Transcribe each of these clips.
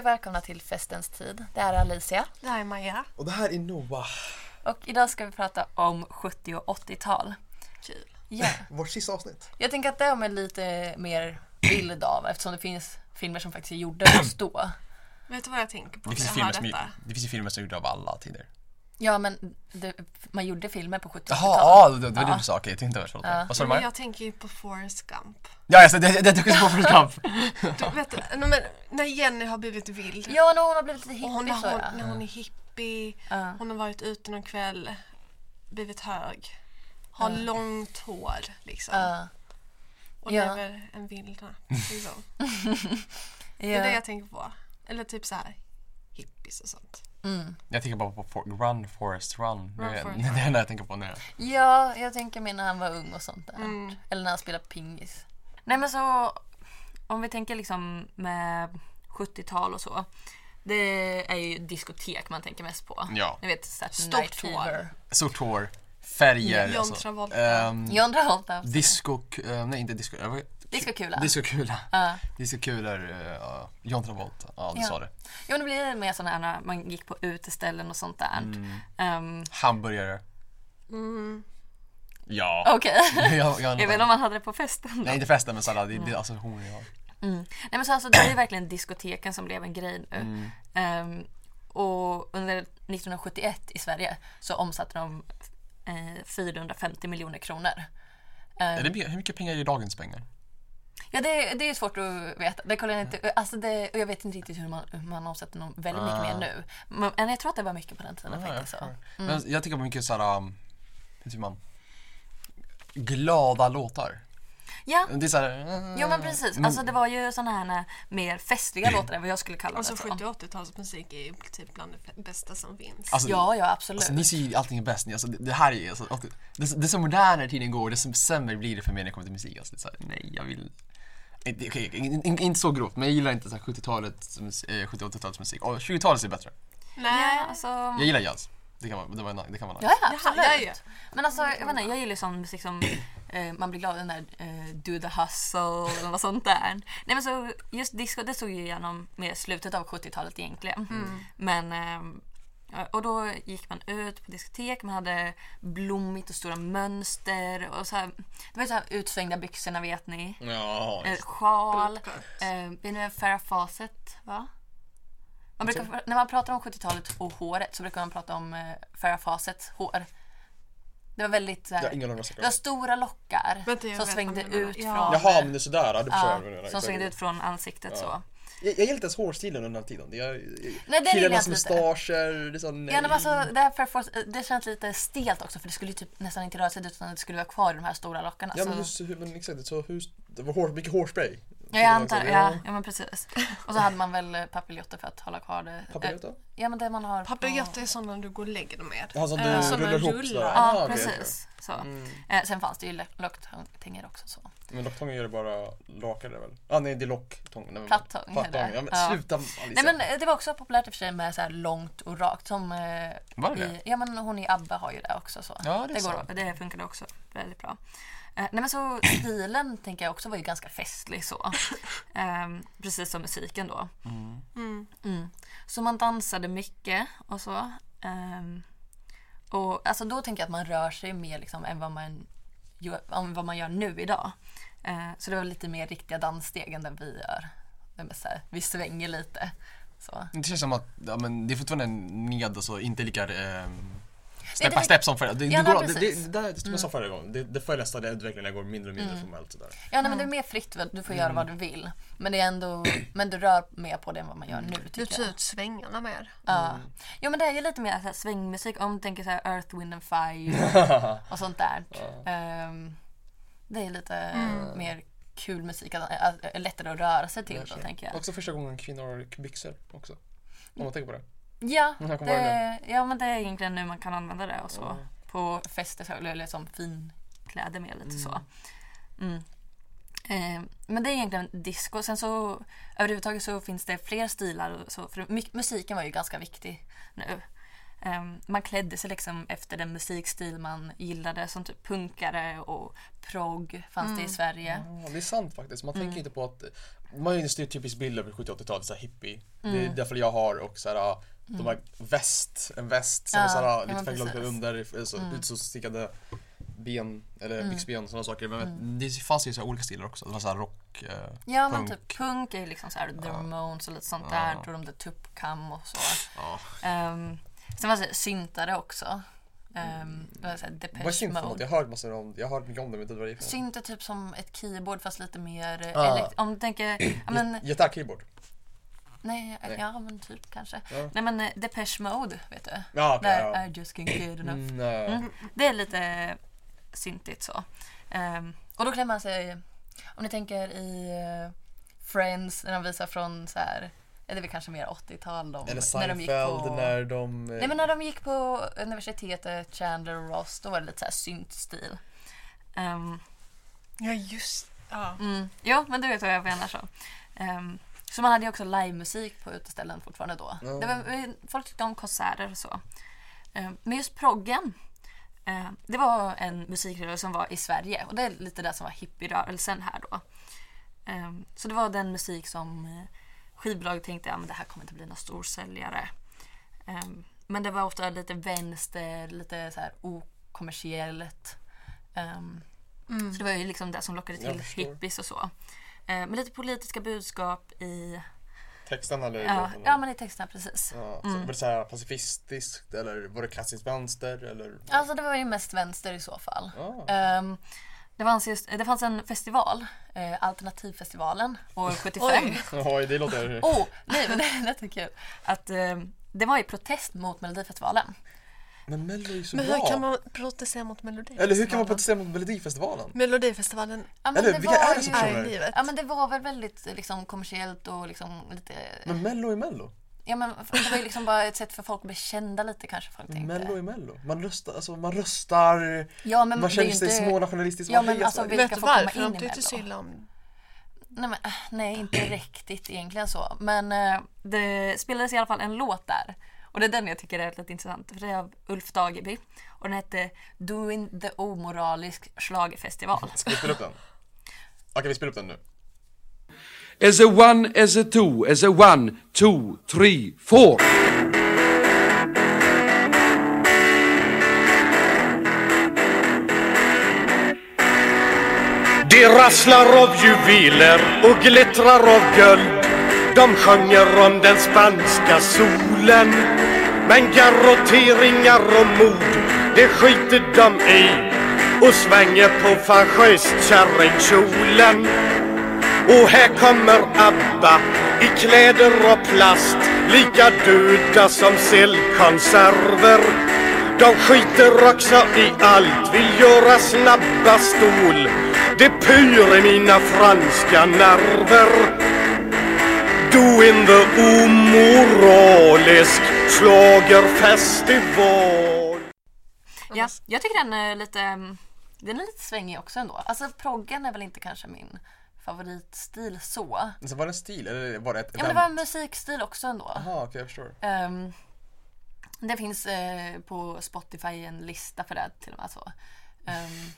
och välkomna till Festens tid. Det här är Alicia. Det här är Maja. Och det här är Noah, Och idag ska vi prata om 70 och 80-tal. Kul. Ja. vårt sista avsnitt. Jag tänker att det har man lite mer bild av eftersom det finns filmer som faktiskt är gjorda just då. Vet du vad jag tänker på Det när finns, ju jag filmer hör som, är- detta? det finns ju filmer som är gjorda av alla tider. Ja, men det, man gjorde filmer på 70-talet. Jaha, ja, det, det var det du sa. Okej, jag tänkte förstå det. Vad sa Jo, du men Maja? jag tänker ju på Forrest Gump. Ja, jag sa det. Det tycker jag på Forrest Gump. Du vet, nej, men, när Jenny har blivit vild. Ja, när hon har blivit lite och hon, hippie när, så hon, ja. när hon är hippie, Ja. hon har varit ute någon kväll, blivit hög, har långt hår liksom. Ja. Och Ja. lever en vildna. Liksom. Det är det Ja. jag tänker på. Eller typ så här hippies och sånt. Mm. Jag tänker bara på For- Run Forrest Run. Run, det, är, Forrest, det är det jag tänker på nu. ja, jag tänker mig när han var ung och sånt där. Mm. Eller när han spelade pingis. Nej men så om vi tänker liksom med 70-tal och så. Det är ju diskotek man tänker mest på. Ja. Ni vet Saturday Night Stort hår. Fever. Stort hår, färger. John alltså. Travolta. Ehm, John Travolta. disco... eh, nej, inte disco. eh, vad- Diskokula. Discokula. Ja. Discokulor. eh, ja. John Travolta. Ja, du Ja. sa det. Jo men det blir mer sådana när man gick på uteställen och sånt där. Mm. Ehm, Hamburgare. Ja. Okej. jag, jag, Jag vet inte om man hade det på festen. Nej, inte festen men sallad. Det, alltså, det är associationer jag har. Nej men så alltså det är ju verkligen diskoteken som blev en grej nu. Mm. Ehm, och under 1971 i Sverige så omsatte de eh, 450 miljoner kronor. Ehm, Är det, mer- hur mycket pengar är dagens pengar? Ja det, det är svårt att veta. Det kollar jag, inte, alltså det, och jag vet inte riktigt hur man, hur man omsätter någon väldigt mycket mer nu. Men men jag tror att det var mycket på den tiden Ah. Ja, faktiskt. jag Så. Mm. förstår. Men jag tänker på mycket såhär, um, hur säger man? Glada låtar. Ja, Det är såhär, uh, jo men precis. Alltså det var ju sådana här mer festliga låtar än vad jag skulle kalla Alltså det. Så. 70 och 80-talsmusik är ju typ bland det bästa som finns. alltså, Ja, ja absolut. alltså, ni ser ju allting är bäst. Ni, alltså, det, det här är ju, alltså, att- det, det som modernare tiden går, det som sämre blir det för mig när det kommer till musik. Alltså, det är såhär, nej jag vill inte, okej, in, in, inte så grovt, men jag gillar inte så här 70-talets, mus- eh, 70-80-talets musik. Och 20-talets är bättre. Nej, ja, alltså, Jag gillar jazz. Det kan vara, det var, det kan vara nice. Ja, ja, absolut. ja, ja. Men alltså, jag vet inte, jag gillar ju sån musik som eh, man blir glad av den där eh, Do the hustle eller något sånt där. Nej men så just disco, det såg ju igenom med slutet av 70-talet egentligen. Mm. Men eh, och då gick man ut på diskotek, man hade blommigt och stora mönster och så här, det var ju så här utsvängda byxorna vet ni. Ja, Eh, sjal. Eh, vet ni vem Farah Fawcett va? Man brukar, när man pratar om 70-talet och håret så brukar man prata om eh, Farah Fawcetts hår. Det var väldigt Jag har såhär, ingen aning vad jag det ska var göra. stora lockar Vänta, jag som vet svängde vad du menar. ut Ja. från Jaha, men det är sådär, ja, det förstår ja, jag. vad du menar. som Exakt. svängde ut från ansiktet så. Jag, jag gillar inte ens hårstilen under den här tiden. Jag, jag jag, killarnas inte. mustascher, det är så, nej. Ja, men alltså, det, här Farah Fawcett, det känns lite stelt också för det skulle ju typ nästan inte röra sig utan det skulle vara kvar i de här stora lockarna. Ja, men, så. hur, hur, men exakt, så hur, det var hår, mycket hårspray. Ja, jag antar, ja, ja men precis. Och så hade man väl eh, papiljotter för att hålla kvar det. eh, Papiljotta? Ja men det man har på- Papiljotter är sådana du går och lägger dem med. Jaha, som du Eh, rullar man ihop sådär. rullar. Ja, Ah, okej, precis. Så. Mm. Eh, sen fanns det ju lo- locktångar också. Så. Men locktången gör det bara rakare väl? Ah nej, det är locktång. Nej, men- Plattång heter Plattång, det. ja men Ja. sluta Alicia. Nej, men eh, det var också populärt i och för sig med så här långt och rakt. Som, eh, Var det i, Ja, men hon i ABBA har ju det också. Så. Ja, det är går, sant. det funkade också väldigt bra. Eh, nej, men så stilen tänker jag också var ju ganska festlig så. Ehm, precis som musiken då. Mm. Mm. Så man dansade mycket och så. Ehm, och alltså då tänker jag att man rör sig mer liksom än vad man, gör, än vad man gör nu idag. Eh, så det var lite mer riktiga danssteg än den vi gör. Det är mest så här, vi svänger lite. Så. Det känns som att ja, men det är fortfarande ned, alltså inte lika ehm, Nej, step det- by step som förra det, Ja, det, nej, går, det, det, precis. Mm. det, där- det, som jag sa förra gången, det, det följer nästan den utvecklingen där det går mindre och mindre formellt sådär. Ja, nej, men det är mer fritt. väl. Du får göra vad du vill. Men, det är ändå, men du rör mer på det än vad man gör nu. Tycker Du jag. tar ut svängarna mer. Ja. Jo men det är ju lite mer så här, svängmusik om du tänker så här Earth, Wind and Fire och sånt där. Ehm, det är lite mer kul musik, att- att- att- lättare att röra sig till då tänker jag. Också första gången kvinnor har byxor också. Om man tänker på det. Ja, Jag kommer det, ja men det är egentligen nu man kan använda det och så. Mm. På fester så, eller som finkläder med lite så. Mm. Eh, men det är egentligen disco. Sen så överhuvudtaget så finns det fler stilar och så. För my- musiken var ju ganska viktig nu. Eh, man klädde sig liksom efter den musikstil man gillade som typ punkare och prog fanns det i Sverige. Mm. Mm. Ja, det är sant faktiskt. Man tänker inte på att man har ju en stereotypisk bild över 70-80-talet, såhär hippie. Det Mm. är därför jag har och såhär, ah, de har väst, en väst som Ja, är såhär, ah, ja, lite men färgglad precis. under, alltså, så, Mm. utstickade ben eller byxben sådana saker. Men Mm. det fanns ju så här olika stilar också. Det var såhär rock, eh, Ja men punk. typ punk är ju liksom så här, The Ramones och lite sånt Ja. där. Och de där Tuppkam och så. Ja. Um, sen var det så här syntare också. Um, det var så här Vad är Depeche synt för något? Mode. Jag har hört massor om, jag har hört mycket om det men inte vad det är för något. Synt är typ som ett keyboard fast lite mer eh, Ah. elekt- Om du tänker, ja men, Gitarrkeyboard? nej, Nej. ja men typ kanske. Ja. Nej men eh, Depeche Mode vet du. Ja, okej. Där ja. I just can't get enough. Mm, eh, Mm. Det är lite syntigt så. Ehm, och då klär man sig, om ni tänker i eh, Friends när de visar från så här, eller det är väl kanske mer 80-tal de, Eller när de gick på... Seinfeld när de... eh, Nej men när de gick på universitetet, Chandler och Ross, då var det lite så här syntstil. Ehm, Ja, just ja. mm, ja men du vet vad jag menar så. Ehm, så man hade ju också livemusik på uteställen fortfarande då. Ja. Det var, folk tyckte om konserter och så. Ehm, men just proggen, eh, det var en musikrörelse som var i Sverige och det är lite det som var hippierörelsen här då. Ehm, så det var den musik som eh, skivbolaget tänkte att men det här kommer inte bli någon storsäljare. Ehm, men det var ofta lite vänster, lite så här okommersiellt. Ehm, Så det var ju liksom det som lockade Jag till förstår. hippies och så. Ehm, men lite politiska budskap i, Texten eller ja, låten? ja, men Mm. i texterna precis. Ja, så Var det såhär pacifistiskt eller var det klassiskt vänster eller? Alltså det var ju mest vänster i så fall. Ja. Ehm, det, fanns just, det fanns en festival, eh, Alternativfestivalen, år 75. Oj. Oj, det låter... oh, nej men det lät kul. Att, eh, det var i protest mot Melodifestivalen. Men Mello är ju så Men bra! hur kan man protestera mot Melodifestivalen? Eller hur kan man protestera mot Melodifestivalen? Melodifestivalen Ja, men Eller det vilka var är det som ju- kör? är livet. Ja men det var väl väldigt liksom, kommersiellt och liksom lite... Mm. Men Mello är Mello. Ja men det var ju liksom bara ett sätt för folk att bli kända lite kanske folk tänkte. Eh. Mello är Mello. Man röstar, alltså man röstar, Ja men man det är ju känner sig inte... smånationalistisk. Ja, man men hejar alltså, Sverige. Vet Vilka du får komma varför? in De i tyckte Mello? så illa om... Nej, men, äh, nej, inte riktigt egentligen så. Men eh, det spelades i alla fall en låt där. Och det är den jag tycker är lite intressant. För det är av Ulf Dageby. Och den hette Doing the Omoralisk schlagerfestival. Ska vi spela upp den? Okej, vi spelar upp den nu. As a one, as a two, as a one, two, three, four. Det rasslar av juveler och glittrar av guld. De sjunger om den spanska solen. Men garrotteringar och mord, det skiter de i. Och svänger på fascistkärringkjolen. Och här kommer ABBA i kläder och plast Lika döda som sillkonserver De skiter också i allt, vill göra snabba stol Det pyr i mina franska nerver Doing the omoralisk schlagerfestival Ja, jag tycker den är lite, mm, den är lite svängig också ändå. Alltså proggen är väl inte kanske min favoritstil så. Så Alltså, var det en stil eller var det ett Ja men det var en musikstil också ändå. Aha, okej, jag förstår. Ehm, det finns eh, på Spotify en lista för det till och med. Så. Ehm,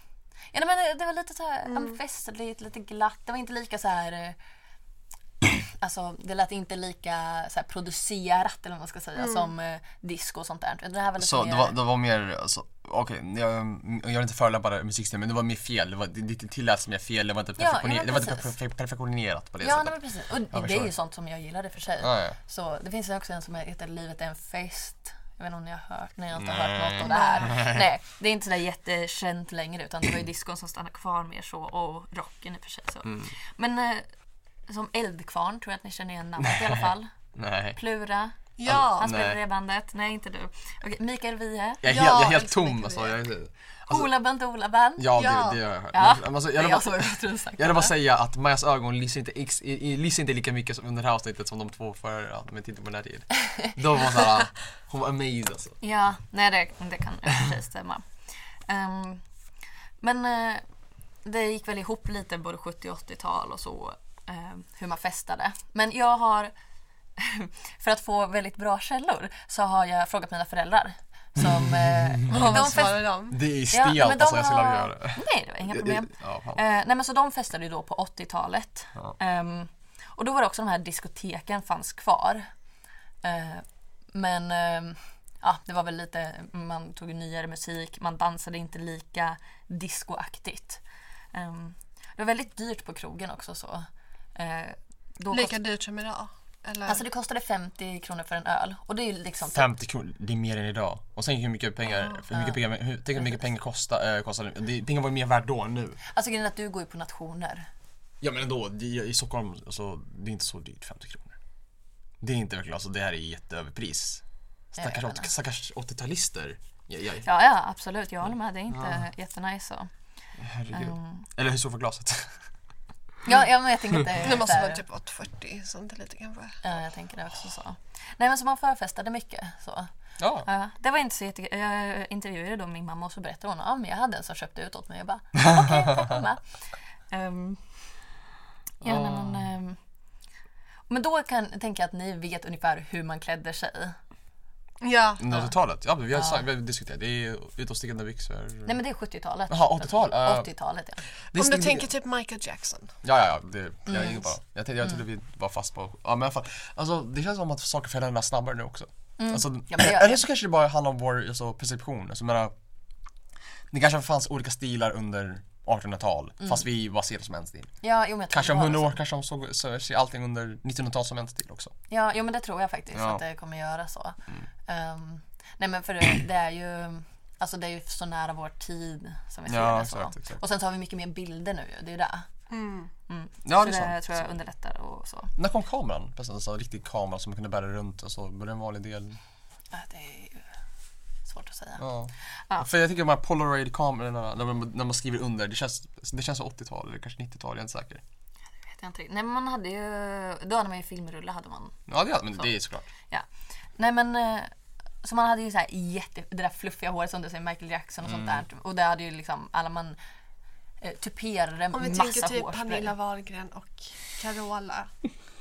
ja, nej, men det, det var lite så här, ja, Mm. men festligt, lite glatt. Det var inte lika så här... eh, Alltså, det lät inte lika så här, producerat eller vad man ska säga som eh, disco och sånt där. Det här var lite Mm. Så mer... det var, det var mer, alltså, okej, jag, jag vill inte förelämpa musikstilen men det var mer fel, det, var, det, det tillät som jag fel, det var inte, ja, perfektione- det var inte precis. perfe- perfektionerat på det Ja, nej, men sättet. precis. Och det är förstår. ju sånt som jag gillar i och för sig. Ja, ja. Så det finns ju också en som heter Livet är en fest. Jag vet inte om ni har hört, ni har inte hört något om det här. Nej, det är inte sådär jättekänt längre utan det var ju diskon som stannade kvar mer så och rocken i och för sig. Så. Mm. Men eh, som Eldkvarn tror jag att ni känner igen namnet i alla fall. Nej. Plura. Ja! Han spelar i Nej. det bandet. Nej, inte du. Okej, Mikael Wiehe. Jag är, helt, jag är Ja, helt älskar tom Mikael alltså. Jag, är- alltså Ola Bent Ola Band. ja, Ja. Det, det har jag hört. Ja. Men, alltså, jag, Jag, jag, jag, som jag, tror säkert. jag vill bara säga att Majas ögon lyser inte, ex, i- i- lyser inte lika mycket som under det här avsnittet som de två förra, ja, men titta på den här tiden. Då var hon såhär, hon var amazed alltså. Ja, nej det, det kan i och för sig stämma. Ehm, men eh, det gick väl ihop lite både 70 och 80-tal och så ehm, hur man festade. Men jag har, för att få väldigt bra källor, så har jag frågat mina föräldrar. Som, eh, Vad de fest- svarar de? Det är Ja, stelt men de alltså, jag skulle har- aldrig göra det. Eh, Nej, det var inga Det- problem. det- ja, fan. Eh, nej men så de festade ju då på 80-talet. Ja. Ehm, Och då var det också de här diskoteken fanns kvar. Eh, men eh, ja, det var väl lite, man tog nyare musik, man dansade inte lika discoaktigt. Eh, det var väldigt dyrt på krogen också så. Eh, då kost- Lika dyrt som idag? Eller? Alltså det kostade 50 kronor för en öl och det är ju liksom 50 kronor, det är mer än idag. Och sen hur mycket pengar, hur mycket pengar, hur, tänk hur mycket pengar kostar, eh, kostar det. det. Pengar var ju mer värt då än nu. Alltså grejen är att du går ju på nationer. Ja men ändå, det, i Stockholm, alltså, det är inte så dyrt 50 kronor. Det är inte verkligen, alltså det här är jätteöverpris. Stackars, Ja, åt- stackars 80-talister. Ja, ja, Ja, ja absolut. Jag håller med. Det är inte jättenice. Så. herregud. mm. Eller hur stor för glaset? Ja, ja, men jag tänker att det är Nu måste så här- man typ vara 40, sånt lite kanske. Ja, jag tänker det också så. Nej, men så man förfestade mycket. Så. Ja. Ja, det var inte så jätte... Jag intervjuade då min mamma och så berättade hon att ah, men jag hade en som köpte ut åt mig. Jag bara okej, tack mamma. Ehm, ja, nej, men, ehm, men då kan, tänker jag att ni vet ungefär hur man klädde sig. Ja, Under 80-talet? Ja, men vi har, sagt- vi har diskuterat. Det är utåtstickande byxor. Nej, men det är 70-talet. Jaha, 80-talet? Ja. 80-talet, ja. Det är om du stick- tänker typ Michael Jackson. Ja, ja, ja. Det, jag mm. bara. Jag, tänkte, jag trodde vi var fast på... Ja, men i alla fall. Alltså, det känns som att saker förändras snabbare nu också. Alltså, men det gör eller det. så kanske det bara handlar om vår alltså, perception. Alltså, jag menar, det kanske fanns olika stilar under 1800-tal, fast vi bara ser det som en stil. ja jo, men jag tror Kanske om det var 100 det. år kanske de såg, så ser allting under 1900-tal som en stil också. Ja, jo, men det tror jag faktiskt Ja. Mm. att det kommer göra så. Ehm, nej, men för det, det är ju Alltså det är ju så nära vår tid som vi ser Ja, det så. exakt, exakt. Och sen så har vi mycket mer bilder nu ju, det är ju det. Ja, så det det, är sant. tror jag underlättar och så. När kom kameran? Precis, alltså, en riktig kamera som man kunde bära runt. Alltså, var det en vanlig del? Ja, Det är ju svårt att säga. Ja. För jag tycker de här polaroid-kamerorna, när man, när man skriver under, det känns, det känns som 80-tal eller kanske 90-tal, jag är inte säker. Vet jag inte riktigt. Nej men man hade ju, då hade man ju filmrulle hade man. Ja, det, men det är såklart. Ja. Nej men, eh, så man hade ju så här jätte, det där fluffiga håret som du säger, Michael Jackson och Mm. sånt där. Och det hade ju liksom alla man eh, tuperade Om vi massa tänker typ hårspray. Pernilla Wahlgren och Carola.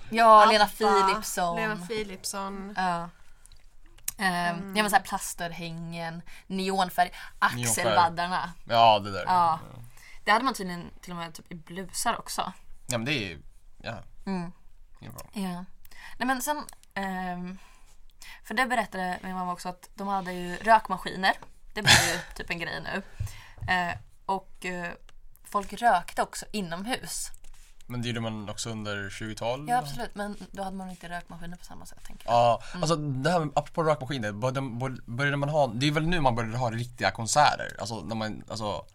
Ja, Lena Abba, Philipsson. Lena Philipsson. Ja. Eh, Ja men såhär plasterhängen, neonfärg, axelvaddarna. Ja, det där. Ja. Det hade man tydligen till och med typ i blusar också. Ja, men det är ja. Mm. Inget bra. Ja. Nej men sen, ehm, för det berättade min mamma också att de hade ju rökmaskiner. Det blir ju typ en grej nu. Eh, och eh, folk rökte också inomhus. Men det gjorde man också under 20-tal? Ja absolut, Mm. men då hade man inte rökmaskiner på samma sätt tänker jag. Ja, alltså det här med, apropå rökmaskiner, började, började man ha, det är väl nu man började ha riktiga konserter? Alltså när man, alltså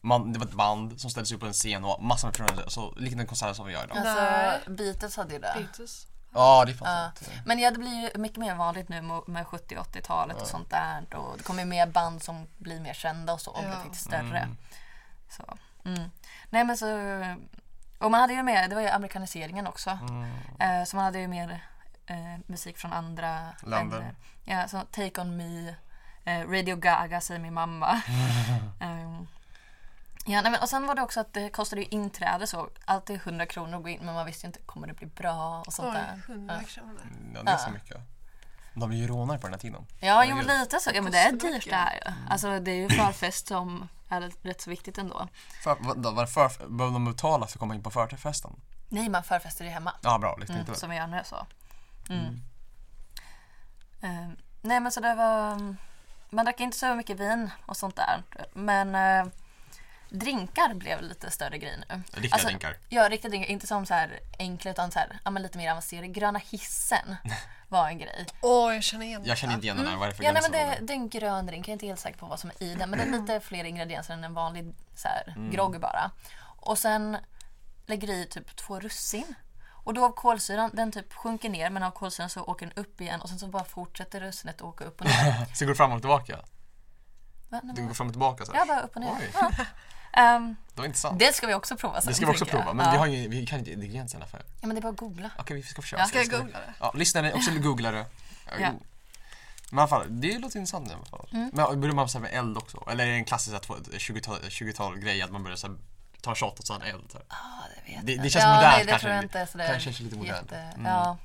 man, det var ett band som ställde sig upp på en scen och massor med personer, så liknande konserter som vi gör idag. Ja, Alltså, Beatles hade ju det. Beatles. det är fan sant. Men ja, det blir ju mycket mer vanligt nu mo- med 70 och 80-talet och sånt där. Och det kommer ju mer band som blir mer kända och så och blir Ja. lite större. Så, mm. Nej men så... Och man hade ju mer, det var ju amerikaniseringen också. Eh, så man hade ju mer eh, musik från andra Länder. Ja, så Take On Me, eh, Radio Gaga säger min mamma. Ehm, Ja, nej, men, och sen var det också att det kostade ju inträde så. Alltid 100 kronor att gå in men man visste ju inte, kommer det bli bra och sånt där. Oj, 100 kronor. Ja, det är så mycket. De är ju rånare på den här tiden. Ja, jo, men lite så. Ja, men det är Kostar dyrt mycket. det här ju. Alltså det är ju förfest som är rätt så viktigt ändå. För, vad, då, var det för, behövde de betala för att komma in på förfesten? Nej, man förfester ju hemma. Ja, bra. Liksom, Mm, inte som vi gör nu så. Mm. Eh, nej men så det var... mm, Man drack inte så mycket vin och sånt där. Men eh, drinkar blev lite större grej nu. Alltså, Riktiga drinkar. Ja, riktiga drinkar. Inte som så här enkla utan så här, ja, men lite mer avancerade. Gröna hissen var en grej. Åh, jag känner igen Jag känner inte igen den här, vad är det för Ja, nej, men gränser? det, Mm. det är en grön drink. Jag är inte helt säker på vad som är i den. Men det är lite fler ingredienser än en vanlig så här, grogg bara. Och sen lägger du i typ två russin. Och då av kolsyran, den typ sjunker ner men av kolsyran så åker den upp igen och sen så bara fortsätter russinet att åka upp och ner. Så går det fram och tillbaka? Va? Nej, Det men- går fram och tillbaka så här. Ja, bara upp och ner. Oj. Ja. Ehm, Det var intressant. det ska vi också prova sen. Det ska vi också tänker jag. prova, men ja. vi, har ju, vi kan inte ingredienserna för. ja, men det är bara att googla. Okej, vi ska försöka. Ja. Ska jag googla det? Ja, lyssnare, också googlare. Ja. Mm. Men i alla fall, det låter intressant i alla fall. Men börjar man så här med eld också? Eller är det en klassisk 20-tal 20-tal grej att man börjar så här, ta shot och så här eld? Så här? Ja, det, vet Det- jag det inte. känns ja, modernt nej, det kanske. Tror jag inte, så det är Kanske känns lite modernt. jätte- mm. Ja.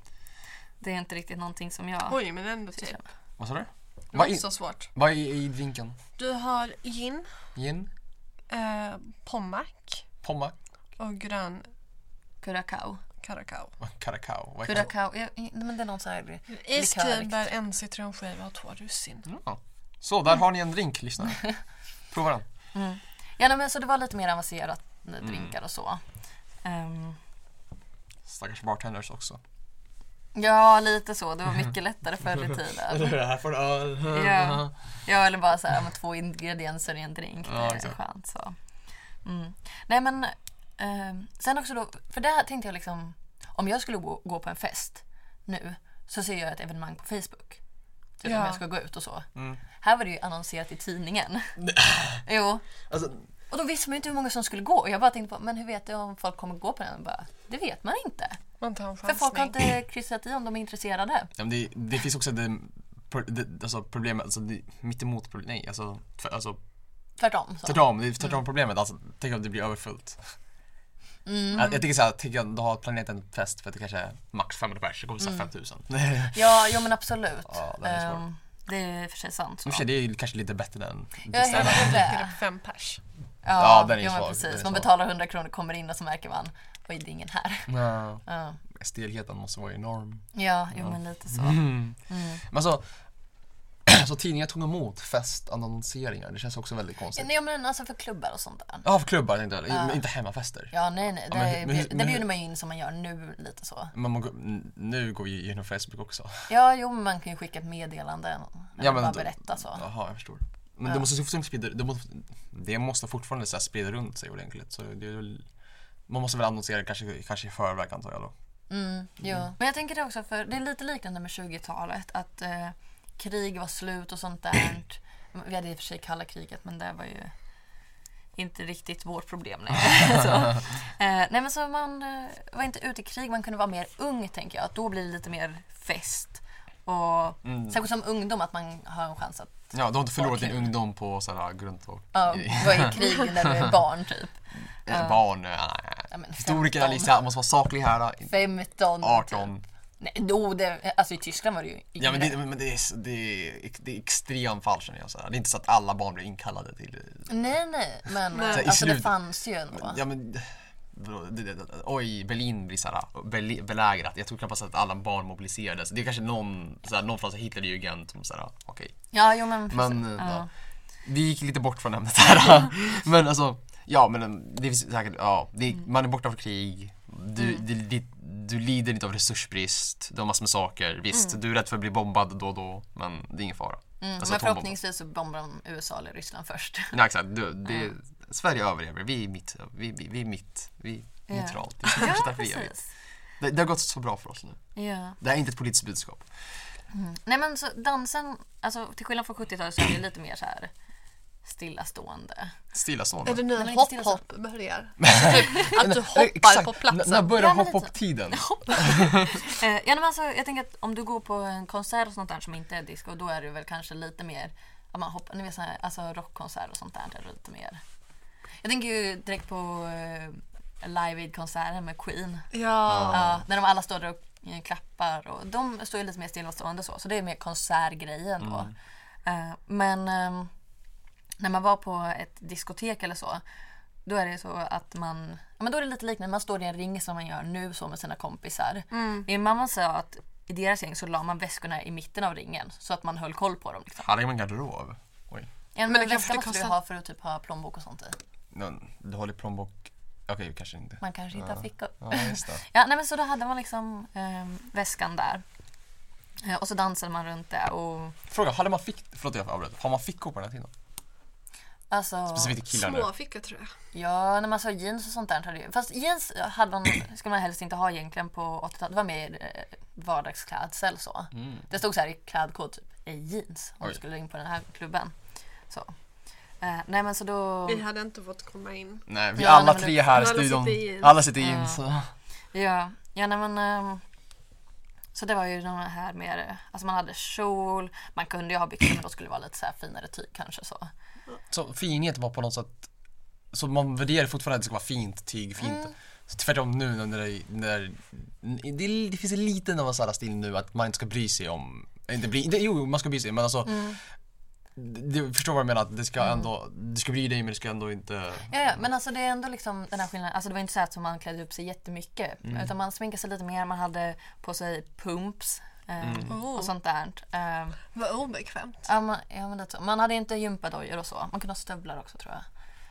Det är inte riktigt någonting som jag... Oj, men ändå typ. Vad sa du? Det Vad var är, inte så svårt. vad är i drinken? Du har gin, Gin? eh, pommack Pommac? och grön Curacao. Karakao. Karakao. Vad är karakao? Curacao. Jag- nej, Men det är någon så här... Likörigt. Iskriver, en citronskiva och två russin. Ja. Så, där har ni en drink lyssnare. Prova den. Ja, nej, men så det var lite mer avancerat eh, Mm. drinkar och så. Ehm, Stackars bartenders också. Ja, lite så. Det var mycket lättare förr i tiden. här får du öl. Ja. ja, eller bara så här, med två ingredienser i en drink. Ja, det är exakt. skönt. Så. Mm. Nej, men eh, sen också då, för där tänkte jag liksom, om jag skulle gå, gå på en fest nu så ser jag ett evenemang på Facebook. Typ om Ja. jag ska gå ut och så. Mm. Här var det ju annonserat i tidningen. jo. Alltså, Och då visste man ju inte hur många som skulle gå. Och jag bara tänkte på, men hur vet jag om folk kommer gå på den? Och Bara, det vet man inte. Man tar en För folk har chansning. inte kryssat i om de är intresserade. ja, men det, det finns också det, pro- det, alltså problemet, alltså det, mittemot problemet, nej alltså, för, alltså Tvärtom. Så. tvärtom, det är tvärtom problemet, alltså tänk om det blir överfullt. Jag, jag tänker såhär, tänk om du har planerat en fest för att det kanske är max 500 pers, det kommer såhär 5000. I Ja, jo men absolut. Ja, det är svårt. Ehm, det är i och för sig sant. och Så. för sig, det är ju kanske lite bättre än jag är beställa. helt med. Typ Fem pers. Ja, Ja, den är jo, men svag, den är precis. Man svag. betalar 100 kronor, kommer in och så märker man oj, det är ingen här. Ja, Ja, Stelheten måste vara enorm. ja jo men lite så. Mm. Men alltså, så tidningar tog emot festannonseringar, det känns också väldigt konstigt. Nej, men alltså för klubbar och sånt där. Ja, för klubbar tänkte jag. Men inte hemmafester. Ja, nej, nej. Det, men hur- men hur- det men hur- bjuder man ju in som man gör nu lite så. Men man går, n- nu går vi genom Facebook också. Ja, jo, men man kan ju skicka ett meddelande. Ja, Ja, men, men bara då- berätta så. Jaha, jag förstår. Men det, måste fortfarande sprida, det, måste, det måste fortfarande så här sprida runt sig ordentligt. Så det är väl, man måste väl annonsera kanske, kanske i förväg antar jag då. Mm, jo. Men jag tänker det också, för det är lite liknande med 20-talet. Att eh, krig var slut och sånt där. Vi hade i och för sig kalla kriget, men det var ju inte riktigt vårt problem längre. så. Eh, nej men så man eh, var inte ute i krig, man kunde vara mer ung tänker jag. Att då blir det lite mer fest. Och Mm. särskilt som ungdom att man har en chans att Ja, du har inte förlorat din ungdom på så här, grund och ja, vara i krig när du är barn typ. eh, barn. eh, Ja, men Historiker 15. Alicia måste vara saklig här. eh, 15. 18. typ. Nej, då, det, alltså i Tyskland var det ju Ja men yngre. det, men det är, det är, det är extrem fall känner jag. Så här. Det är inte så att alla barn blir inkallade till Nej, nej, men Så i alltså, det slut- fanns ju ändå. Ja men, vadå, det, det, det, oj, Berlin blir såhär bel- belägrat. Jag tror knappast att alla barn mobiliserades. Det är kanske någon, såhär, någon från såhär Hitlerjugend som såhär, okej. Ja, jo, men, Men, eh, ja. vi gick lite bort från ämnet här. men alltså, ja men um, det finns säkert, ja, det, man är borta från krig. Du, Mm. det, det, du lider inte av resursbrist, du har massor med saker. Visst, du är rädd för att bli bombad då och då, men det är ingen fara. Mm, Alltså, men atombomber. förhoppningsvis så bombar de USA eller Ryssland först. Nej exakt, du, det, Sverige överlever. Vi är mitt, vi, vi, vi är mitt, vi är neutralt. Det är kanske därför vi gör det. Det, det har gått så bra för oss nu. Ja. Det här är inte ett politiskt budskap. Nej men så dansen, alltså till skillnad från 70-talet så är det lite mer så här stillastående. Är det Stillastående. nu är inte stilla så. hopp-hopp börjar? typ att du hoppar Exakt. på N- platsen. När börjar Ja, men lite. hopp-hopp-tiden? Eh, ja, nej, men alltså, jag tänker att om du går på en konsert och sånt där som inte är disco då är det väl kanske lite mer att man hoppar, ni vet, så här, alltså rockkonsert och sånt där är det lite mer. Jag tänker ju direkt på eh, Live Aid-konserten med Queen. Ja. Ja, när de alla står där och eh, klappar och de står ju lite mer stillastående så, så det är mer konsertgrejen då. Mm. Eh, men ehm, när man var på ett diskotek eller så, då är det så att man, ja, men då är det lite liknande, man står i en ring som man gör nu så med sina kompisar. Mm. Min mamma sa att i deras gäng så la man väskorna i mitten av ringen så att man höll koll på dem. Liksom. Hade man garderob? Oj. En Men det väska kanske måste du kostar- ha för att typ ha plånbok och sånt i. Någon- Du håller plånbok... Okej, kanske inte. Man kanske inte har fickor. Ja, just det. Ja, nej, men så då hade man liksom ehm, väskan där. Eh, och så dansade man runt det och Fråga, hade man fick... Förlåt jag avbröt. Har man fickor på den här tiden? Alltså, Specifikt till killar nu. Små fickor tror jag. ja, när man sa jeans och sånt där hade ju... Fast jeans hade man, skulle man helst inte ha egentligen på 80-talet. Det var mer eh, vardagsklädsel så. Det stod så här i klädkod typ, i jeans om du Mm. Oj. skulle in på den här klubben. Så. Eh, nej men så då... Vi hade inte fått komma in. Nej, vi Ja, alla nej, men tre här alla i sitter studion. i jeans. Alla sitter i jeans. Ja, ja nej, men... ehm, så det var ju de här mer, alltså man hade kjol, man kunde ju ha byxor men då skulle det vara lite så här finare tyg kanske så. Så finhet var på något sätt... Så man värderar fortfarande att det ska vara fint tyg, fint. Mm. Så tvärtom nu när det, när, det, är- det finns en Mm. liten av en sån här stil nu att man inte ska bry sig om... Inte bry, det, jo, jo, man ska bry sig men alltså... du förstår vad jag menar, att det ska ändå, du ska bry dig men du ska ändå inte... Ja, ja, men alltså det är ändå liksom den här skillnaden. Alltså det var inte så att som man klädde upp sig jättemycket. Utan man sminkade sig lite mer, man hade på sig pumps eh, Oh, och sånt där. Eh, vad obekvämt. ja, man, ja, men det, är så. man hade inte gympadojor och så. Man kunde ha stövlar också tror jag.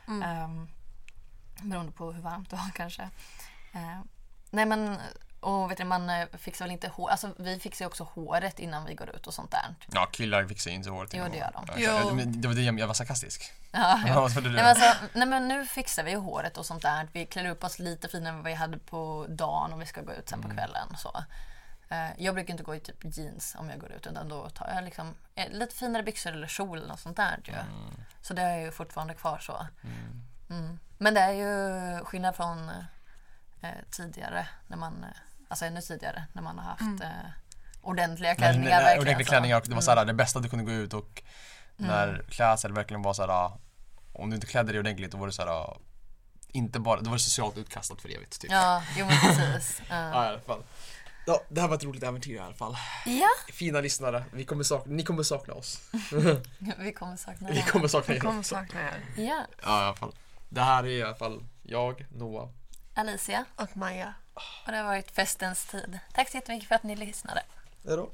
Mm. beroende på hur varmt det var kanske. Eh, nej men, och vet du, man eh, fixar väl inte hår. Alltså vi fixar ju också håret innan vi går ut och sånt där. Ja, killar fixar ju inte håret. Jo, det gör de. Ja, Jo. men Det var det jag, jag var sarkastisk. Ja, Ja, vad trodde du? Nej men, alltså, nej men nu fixar vi ju håret och sånt där. Vi klär upp oss lite finare än vad vi hade på dagen om vi ska gå ut sen på Mm. kvällen. Så. Eh, Jag brukar inte gå i typ jeans om jag går ut utan då tar jag liksom, eh, lite finare byxor eller kjol eller något sånt där. Ju. Mm. Så det är ju fortfarande kvar så. Mm. Men det är ju skillnad från eh, tidigare, när man, eh, alltså ännu tidigare, när man har haft eh, ordentliga Men, klänningar. nej, verkligen, alltså. Mm. ordentliga så. klänningar och det var såhär det bästa du kunde gå ut och när klädsel verkligen var såhär om du inte klädde dig ordentligt då var det såhär inte bara, då var det socialt utkastat för evigt typ. Ja, jo men precis. Eh, Ja, i alla fall. Ja, det här var ett roligt äventyr i alla fall. Ja, Fina lyssnare, vi kommer sakna, ni kommer sakna oss. vi kommer sakna Vi det. kommer sakna er. Kommer sakna er. Ja. Ja, i alla fall. Det här är i alla fall jag, Noah. Alicia Och Maja. och det har varit festens tid. Tack så jättemycket för att ni lyssnade. Hej då.